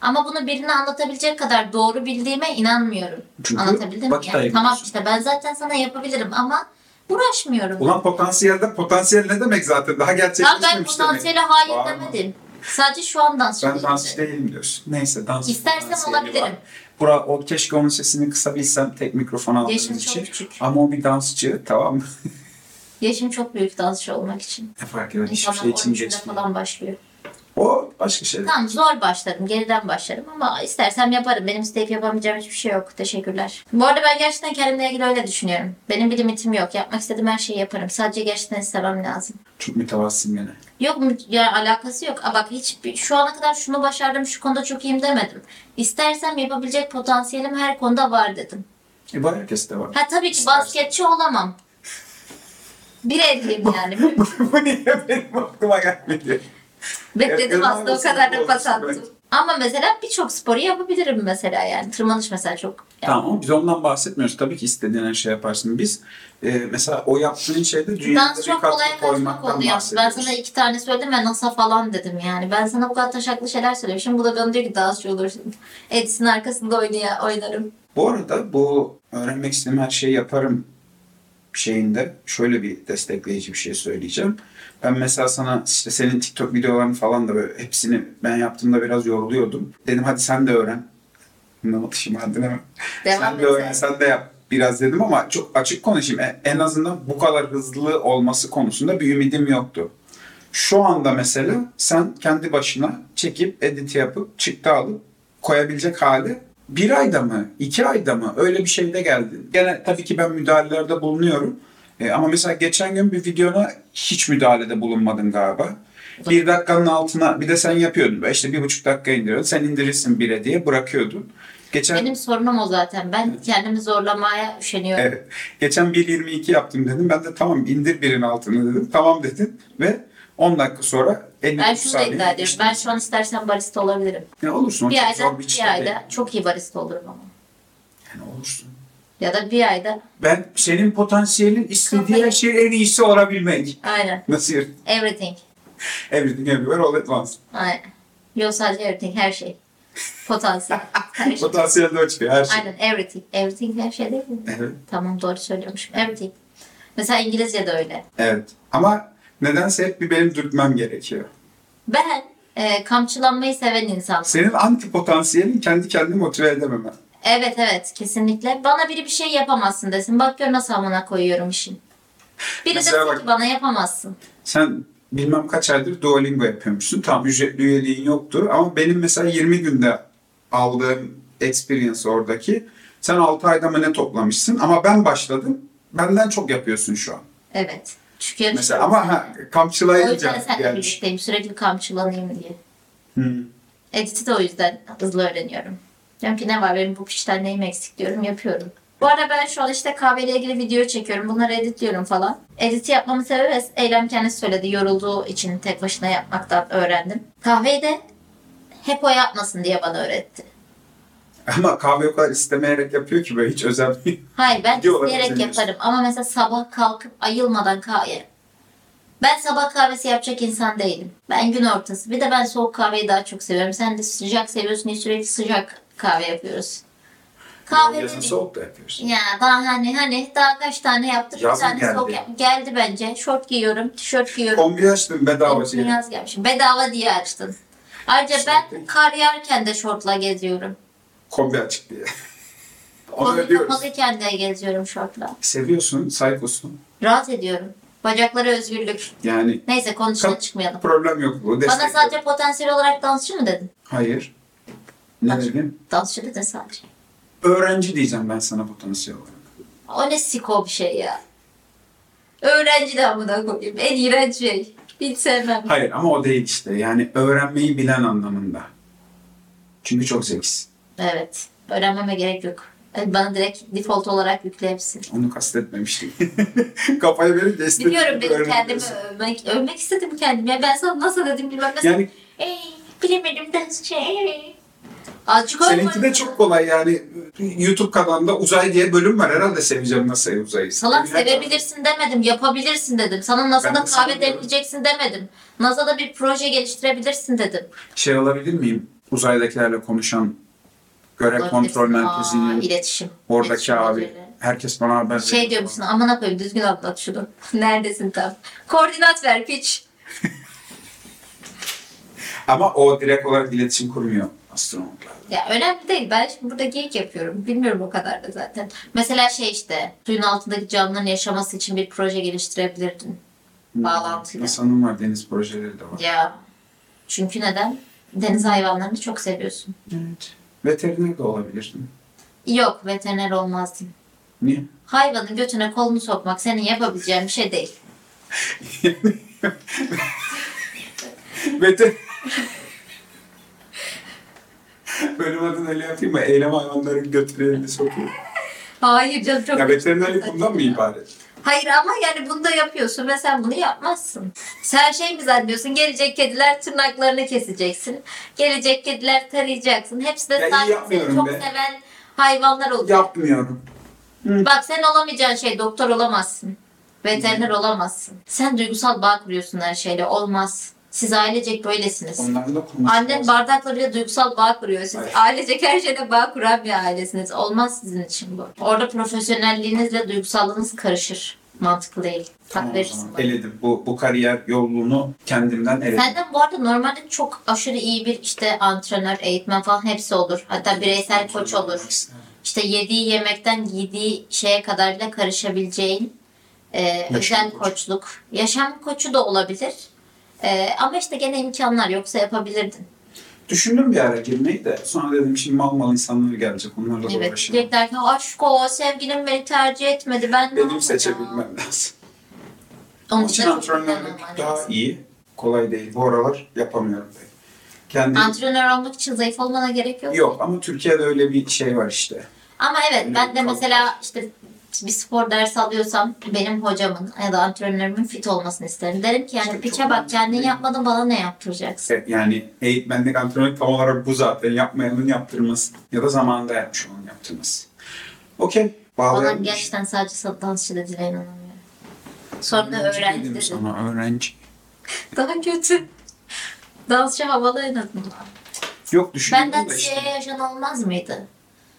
[SPEAKER 2] Ama bunu birine anlatabilecek kadar doğru bildiğime inanmıyorum.
[SPEAKER 1] Çünkü
[SPEAKER 2] Anlatabildim mi?
[SPEAKER 1] vakit
[SPEAKER 2] Yani,
[SPEAKER 1] ayırmıyorsun.
[SPEAKER 2] tamam işte ben zaten sana yapabilirim ama uğraşmıyorum.
[SPEAKER 1] Ulan potansiyelde potansiyel ne demek zaten? Daha
[SPEAKER 2] Lan ben
[SPEAKER 1] gerçekleşmemiş
[SPEAKER 2] potansiyeli
[SPEAKER 1] demek.
[SPEAKER 2] hayır
[SPEAKER 1] şey? Bağırma.
[SPEAKER 2] demedim. Sadece şu an dansçı
[SPEAKER 1] Ben
[SPEAKER 2] değilim.
[SPEAKER 1] dansçı değilim diyorsun. Neyse dans.
[SPEAKER 2] İstersem
[SPEAKER 1] potansiyeli var.
[SPEAKER 2] olabilirim.
[SPEAKER 1] Bura, o, keşke onun sesini kısabilsem tek mikrofon aldığım
[SPEAKER 2] Yaşım
[SPEAKER 1] için.
[SPEAKER 2] çok küçük.
[SPEAKER 1] Ama o bir dansçı tamam mı?
[SPEAKER 2] Yaşım çok büyük dansçı olmak için.
[SPEAKER 1] ne fark eder hiçbir
[SPEAKER 2] İnsanlar
[SPEAKER 1] şey için
[SPEAKER 2] 13'ünde
[SPEAKER 1] geçmiyor.
[SPEAKER 2] falan başlıyor.
[SPEAKER 1] O başka şey. şeyler.
[SPEAKER 2] Tamam zor başlarım. Geriden başlarım ama istersem yaparım. Benim isteyip yapamayacağım hiçbir şey yok. Teşekkürler. Bu arada ben gerçekten kendimle ilgili öyle düşünüyorum. Benim bir limitim yok. Yapmak istediğim her şeyi yaparım. Sadece gerçekten istemem lazım.
[SPEAKER 1] Çok mütevassın gene.
[SPEAKER 2] Yok mu yani alakası yok. Aa, bak hiç şu ana kadar şunu başardım şu konuda çok iyiyim demedim. İstersem yapabilecek potansiyelim her konuda var dedim.
[SPEAKER 1] E bu herkeste var.
[SPEAKER 2] Ha tabii ki basketçi olamam. Bir evliyim yani.
[SPEAKER 1] bu niye benim aklıma gelmedi?
[SPEAKER 2] Bekledim
[SPEAKER 1] Evet,
[SPEAKER 2] aslında o kadar da
[SPEAKER 1] olsun,
[SPEAKER 2] pas
[SPEAKER 1] evet.
[SPEAKER 2] attım. Ama mesela birçok sporu yapabilirim mesela yani. Tırmanış mesela çok.
[SPEAKER 1] Tamam ama biz ondan bahsetmiyoruz. Tabii ki istediğin her şey yaparsın. Biz e, mesela o yaptığın şeyde dünyada
[SPEAKER 2] Dans
[SPEAKER 1] bir
[SPEAKER 2] çok kolay
[SPEAKER 1] katkı
[SPEAKER 2] kaçmak
[SPEAKER 1] koymaktan
[SPEAKER 2] oldu ya. Ben
[SPEAKER 1] bahsediyoruz.
[SPEAKER 2] sana iki tane söyledim ve NASA falan dedim yani. Ben sana bu kadar taşaklı şeyler söylemişim. Bu da bana diyor ki dansçı olursun. Edis'in arkasında oynaya, oynarım.
[SPEAKER 1] Bu arada bu öğrenmek istediğim her şeyi yaparım şeyinde şöyle bir destekleyici bir şey söyleyeceğim. Ben mesela sana işte senin TikTok videolarını falan da böyle hepsini ben yaptığımda biraz yoruluyordum. Dedim hadi sen de öğren. Ne oldu şimdi hadi ne?
[SPEAKER 2] Devam
[SPEAKER 1] sen
[SPEAKER 2] et
[SPEAKER 1] de öğren,
[SPEAKER 2] sen.
[SPEAKER 1] sen de yap biraz dedim ama çok açık konuşayım. E- En azından bu kadar hızlı olması konusunda bir ümidim yoktu. Şu anda mesela sen kendi başına çekip edit yapıp çıktı alıp koyabilecek hali bir ayda mı, iki ayda mı öyle bir şeyde geldin. Gene tabii ki ben müdahalelerde bulunuyorum. E, ama mesela geçen gün bir videona hiç müdahalede bulunmadın galiba. Bir dakikanın altına bir de sen yapıyordun. Böyle İşte bir buçuk dakika indiriyordun. Sen indirirsin bire diye bırakıyordun. Geçen
[SPEAKER 2] Benim sorunum o zaten. Ben kendimi zorlamaya üşeniyorum.
[SPEAKER 1] Evet. Geçen 1.22 yaptım dedim. Ben de tamam indir birin altını dedim. Tamam dedin ve 10 dakika sonra 53
[SPEAKER 2] Ben şunu da
[SPEAKER 1] saniye
[SPEAKER 2] iddia ediyorum.
[SPEAKER 1] işte.
[SPEAKER 2] Ben şu an istersen barista olabilirim.
[SPEAKER 1] Ne olursun.
[SPEAKER 2] Bir
[SPEAKER 1] çok
[SPEAKER 2] ayda,
[SPEAKER 1] zor iş
[SPEAKER 2] bir
[SPEAKER 1] değil.
[SPEAKER 2] ayda çok iyi barista olurum ama.
[SPEAKER 1] Yani olursun.
[SPEAKER 2] Ya da bir ayda.
[SPEAKER 1] Ben senin potansiyelin istediği her
[SPEAKER 2] Kafayı-
[SPEAKER 1] şey en iyisi olabilmek.
[SPEAKER 2] Aynen.
[SPEAKER 1] Nasıl yer?
[SPEAKER 2] Everything.
[SPEAKER 1] Everything everywhere all at once.
[SPEAKER 2] Aynen. Yok sadece everything. Her şey. Potansiyel. Her şey.
[SPEAKER 1] Potansiyel de o çıkıyor her şey.
[SPEAKER 2] Aynen. Everything. Everything her şey değil mi?
[SPEAKER 1] Evet.
[SPEAKER 2] Tamam doğru söylüyormuşum. Everything. Mesela İngilizce de öyle.
[SPEAKER 1] Evet. Ama nedense hep bir benim dürtmem gerekiyor.
[SPEAKER 2] Ben e, kamçılanmayı seven insanım.
[SPEAKER 1] Senin anti potansiyelin kendi kendini motive edememen.
[SPEAKER 2] Evet evet kesinlikle. Bana biri bir şey yapamazsın desin. Bak gör nasıl amına koyuyorum işin. Biri de
[SPEAKER 1] Mesela
[SPEAKER 2] desin
[SPEAKER 1] bak-
[SPEAKER 2] ki bana yapamazsın.
[SPEAKER 1] Sen bilmem kaç aydır Duolingo yapıyormuşsun. Tam ücretli üyeliğin yoktu ama benim mesela 20 günde aldığım experience oradaki sen 6 ayda mı ne toplamışsın ama ben başladım. Benden çok yapıyorsun şu an.
[SPEAKER 2] Evet. Çünkü yarışıyorum
[SPEAKER 1] Mesela ama
[SPEAKER 2] seninle.
[SPEAKER 1] ha,
[SPEAKER 2] O yüzden
[SPEAKER 1] kamçılayınca
[SPEAKER 2] seninle
[SPEAKER 1] gelmiş.
[SPEAKER 2] birlikteyim. Sürekli kamçılanayım diye.
[SPEAKER 1] Hmm.
[SPEAKER 2] Edit'i de o yüzden hızlı öğreniyorum. Diyorum ki ne var benim bu piçten neyim eksik diyorum yapıyorum. Bu arada ben şu an işte kahveyle ilgili video çekiyorum. Bunları editliyorum falan. Editi yapmamın sebebi Eylem kendisi söyledi. Yorulduğu için tek başına yapmaktan öğrendim. Kahveyi de hep o yapmasın diye bana öğretti.
[SPEAKER 1] Ama kahve o kadar istemeyerek yapıyor ki böyle hiç özel bir...
[SPEAKER 2] Hayır ben
[SPEAKER 1] Video olarak
[SPEAKER 2] isteyerek
[SPEAKER 1] izleniyorsun.
[SPEAKER 2] yaparım ama mesela sabah kalkıp ayılmadan kahve. Ben sabah kahvesi yapacak insan değilim. Ben gün ortası. Bir de ben soğuk kahveyi daha çok seviyorum. Sen de sıcak seviyorsun diye sürekli sıcak kahve yapıyoruz. Kahve
[SPEAKER 1] Yazın
[SPEAKER 2] dedik.
[SPEAKER 1] soğuk da yapıyorsun.
[SPEAKER 2] Ya daha hani hani daha kaç tane yaptık.
[SPEAKER 1] Yazın
[SPEAKER 2] bir tane
[SPEAKER 1] geldi.
[SPEAKER 2] soğuk yap- Geldi bence. Şort giyiyorum, tişört giyiyorum.
[SPEAKER 1] Kombi açtım bedava şey.
[SPEAKER 2] Yaz gelmişim. Bedava diye açtın. Ayrıca ben kar yağarken de şortla geziyorum.
[SPEAKER 1] Kombi açık diye. Onu
[SPEAKER 2] Kombi
[SPEAKER 1] ödüyoruz.
[SPEAKER 2] kapalıyken de geziyorum şortla.
[SPEAKER 1] Seviyorsun, saykosun.
[SPEAKER 2] Rahat ediyorum. Bacaklara özgürlük.
[SPEAKER 1] Yani
[SPEAKER 2] Neyse konuşuna
[SPEAKER 1] Kap-
[SPEAKER 2] çıkmayalım.
[SPEAKER 1] problem yok bu.
[SPEAKER 2] Bana
[SPEAKER 1] destekliyorum.
[SPEAKER 2] sadece potansiyel olarak dansçı mı dedin?
[SPEAKER 1] Hayır. Ne
[SPEAKER 2] Bak.
[SPEAKER 1] dedim?
[SPEAKER 2] Dansçı dedin sadece.
[SPEAKER 1] Öğrenci diyeceğim ben sana potansiyel olarak.
[SPEAKER 2] O ne siko bir şey ya. Öğrenci de amına koyayım. En iğrenç şey. Hiç sevmem.
[SPEAKER 1] Hayır ama o değil işte. Yani öğrenmeyi bilen anlamında. Çünkü çok zekisin.
[SPEAKER 2] Evet. Öğrenmeme gerek yok. Yani Bana direkt default olarak yükle hepsini.
[SPEAKER 1] Onu kastetmemiştim. Kafaya verip de istediğin
[SPEAKER 2] Biliyorum
[SPEAKER 1] gibi
[SPEAKER 2] benim kendimi
[SPEAKER 1] öğrenebilirsin.
[SPEAKER 2] övmek, övmek istedim kendimi. Ya Ben sana nasıl dedim bilmem. Mesela,
[SPEAKER 1] Yani
[SPEAKER 2] "Ey, bilemedim dansçı. ey." Azıcık
[SPEAKER 1] seninki de
[SPEAKER 2] olmadı.
[SPEAKER 1] çok kolay yani. YouTube kanalında uzay diye bölüm var. Herhalde seveceğim nasıl uzayı.
[SPEAKER 2] Salak
[SPEAKER 1] Sevgiler-
[SPEAKER 2] sevebilirsin demedim, yapabilirsin dedim. Sana
[SPEAKER 1] Ben
[SPEAKER 2] NASA'da
[SPEAKER 1] de
[SPEAKER 2] kahve
[SPEAKER 1] sanmıyorum.
[SPEAKER 2] demleyeceksin demedim. NASA'da bir proje geliştirebilirsin dedim.
[SPEAKER 1] Şey olabilir miyim? Uzaydakilerle konuşan görev kontrol
[SPEAKER 2] Aa,
[SPEAKER 1] merkezinin
[SPEAKER 2] iletişim.
[SPEAKER 1] oradaki
[SPEAKER 2] İletişim
[SPEAKER 1] abi.
[SPEAKER 2] becerileri.
[SPEAKER 1] Herkes bana haber
[SPEAKER 2] Şey diyor musun, amına koyayım düzgün anlat şunu. Neredesin tam? Koordinat ver piç.
[SPEAKER 1] Ama o direkt olarak iletişim kurmuyor astronotlar.
[SPEAKER 2] Ya önemli değil. Ben şimdi burada geyik yapıyorum. Bilmiyorum o kadar da zaten. Mesela şey işte, suyun altındaki canlıların yaşaması için bir proje geliştirebilirdin.
[SPEAKER 1] Hmm.
[SPEAKER 2] Bağlantıyla.
[SPEAKER 1] NASA'nın var deniz projeleri de var.
[SPEAKER 2] Ya. Çünkü neden? Deniz hayvanlarını çok seviyorsun.
[SPEAKER 1] Evet. Veteriner de olabilirdim.
[SPEAKER 2] Yok, veteriner olmazdın.
[SPEAKER 1] Niye?
[SPEAKER 2] Hayvanın götüne kolunu sokmak senin yapabileceğin bir şey değil.
[SPEAKER 1] Veter... Bölüm adını öyle yapayım mı? Eylem hayvanların götürerini sokuyor.
[SPEAKER 2] Hayır canım çok...
[SPEAKER 1] Ya veterinerlik bundan mı ibaret?
[SPEAKER 2] Hayır ama yani bunu da yapıyorsun ve sen bunu yapmazsın. Sen şey mi zannediyorsun? Gelecek kediler tırnaklarını keseceksin. Gelecek kediler tarayacaksın. Hepsi
[SPEAKER 1] Ya
[SPEAKER 2] de
[SPEAKER 1] iyi
[SPEAKER 2] sadece
[SPEAKER 1] yapmıyorum
[SPEAKER 2] seni çok
[SPEAKER 1] be.
[SPEAKER 2] seven hayvanlar olacak.
[SPEAKER 1] Yapmıyorum.
[SPEAKER 2] Bak sen olamayacağın şey doktor olamazsın.
[SPEAKER 1] Hmm.
[SPEAKER 2] Veteriner olamazsın. Sen duygusal bağ kuruyorsun her şeyle. Olmaz. Siz ailecek böylesiniz.
[SPEAKER 1] Onlarla da
[SPEAKER 2] Annen
[SPEAKER 1] konuşmaz.
[SPEAKER 2] bardaklarıyla duygusal bağ kuruyor. Siz
[SPEAKER 1] Evet.
[SPEAKER 2] ailecek her şeyde bağ kuran bir ailesiniz. Olmaz sizin için bu. Orada profesyonelliğinizle duygusalınız karışır. Mantıklı değil.
[SPEAKER 1] Tamam o zaman,
[SPEAKER 2] Hak verirsin. bana.
[SPEAKER 1] Eledim. Bu, bu kariyer yolunu kendimden eledim.
[SPEAKER 2] Senden bu arada normalde çok aşırı iyi bir işte antrenör, eğitmen falan hepsi olur. Hatta bireysel koç olur. İşte yediği yemekten giydiği şeye kadar bile karışabileceğin e, özel
[SPEAKER 1] koç.
[SPEAKER 2] koçluk. Yaşam koçu da olabilir. E, ama işte gene imkanlar yoksa yapabilirdin.
[SPEAKER 1] Düşündüm bir ara girmeyi de sonra dedim şimdi mal mal insanlar gelecek onlarla da
[SPEAKER 2] Evet.
[SPEAKER 1] uğraşayım.
[SPEAKER 2] Diyecekler ki aşk o sevgilim beni tercih etmedi. Ben ne
[SPEAKER 1] Benim
[SPEAKER 2] yapacağım?"
[SPEAKER 1] seçebilmem lazım.
[SPEAKER 2] Onun
[SPEAKER 1] Onun
[SPEAKER 2] için
[SPEAKER 1] için
[SPEAKER 2] de çok
[SPEAKER 1] antrenörlük
[SPEAKER 2] dinlenmen
[SPEAKER 1] daha
[SPEAKER 2] lazım.
[SPEAKER 1] iyi. Kolay değil. Bu aralar yapamıyorum pek. Kendi
[SPEAKER 2] Antrenör olmak için zayıf olmana gerek yok.
[SPEAKER 1] yok ama Türkiye'de öyle bir şey var işte.
[SPEAKER 2] Ama evet ben de
[SPEAKER 1] Yok,
[SPEAKER 2] mesela işte bir spor dersi alıyorsam benim hocamın ya da antrenörümün fit olmasını isterim. Derim ki yani
[SPEAKER 1] İşte
[SPEAKER 2] piçe
[SPEAKER 1] çok
[SPEAKER 2] bak
[SPEAKER 1] mantıklı
[SPEAKER 2] kendin
[SPEAKER 1] değil mi?
[SPEAKER 2] yapmadın bana ne yaptıracaksın?
[SPEAKER 1] Evet, Yani eğitmenlik antrenörlük tam olarak bu zaten. Yapmayanın yaptırması ya da zamanında yapmış olanın yaptırması. Okey.
[SPEAKER 2] Bana
[SPEAKER 1] Bağlayalım.
[SPEAKER 2] gerçekten sadece sa- dansçı dediğine inanamıyorum. Sonra da
[SPEAKER 1] Öğrenci
[SPEAKER 2] öğrenci
[SPEAKER 1] dedim
[SPEAKER 2] dedi.
[SPEAKER 1] Sana öğrenci.
[SPEAKER 2] Daha kötü. Dansçı havalı en azından.
[SPEAKER 1] Yok düşündüm
[SPEAKER 2] Benden
[SPEAKER 1] de
[SPEAKER 2] CIA
[SPEAKER 1] işte.
[SPEAKER 2] yaşan olmaz mıydı?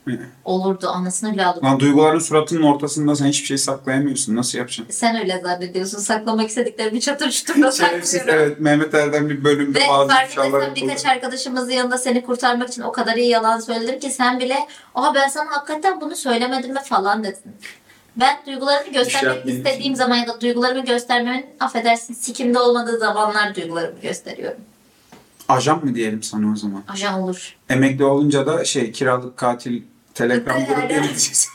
[SPEAKER 1] Hı.
[SPEAKER 2] Olurdu anasını bile alıp.
[SPEAKER 1] Lan duyguların suratının ortasında sen hiçbir şey saklayamıyorsun. Nasıl yapacaksın?
[SPEAKER 2] Sen öyle zannediyorsun. Saklamak istediklerimi çatır çutur da
[SPEAKER 1] Şerefsiz
[SPEAKER 2] saklıyorum.
[SPEAKER 1] evet Mehmet Erdem bir bölümde
[SPEAKER 2] Ve
[SPEAKER 1] şey bazı
[SPEAKER 2] fark
[SPEAKER 1] inşallah
[SPEAKER 2] edersen birkaç arkadaşımızın yanında seni kurtarmak için o kadar iyi yalan söyledim ki sen bile ''Aa ben sana hakikaten bunu söylemedim mi?'' falan dedin. Ben duygularımı göstermek
[SPEAKER 1] yapmayayım
[SPEAKER 2] istediğim
[SPEAKER 1] şimdi.
[SPEAKER 2] zaman ya da duygularımı göstermemin affedersin sikimde olmadığı zamanlar duygularımı gösteriyorum.
[SPEAKER 1] ajan mı diyelim sana o zaman?
[SPEAKER 2] Ajan olur.
[SPEAKER 1] Emekli olunca da şey kiralık katil telegram grubu yöneteceğiz.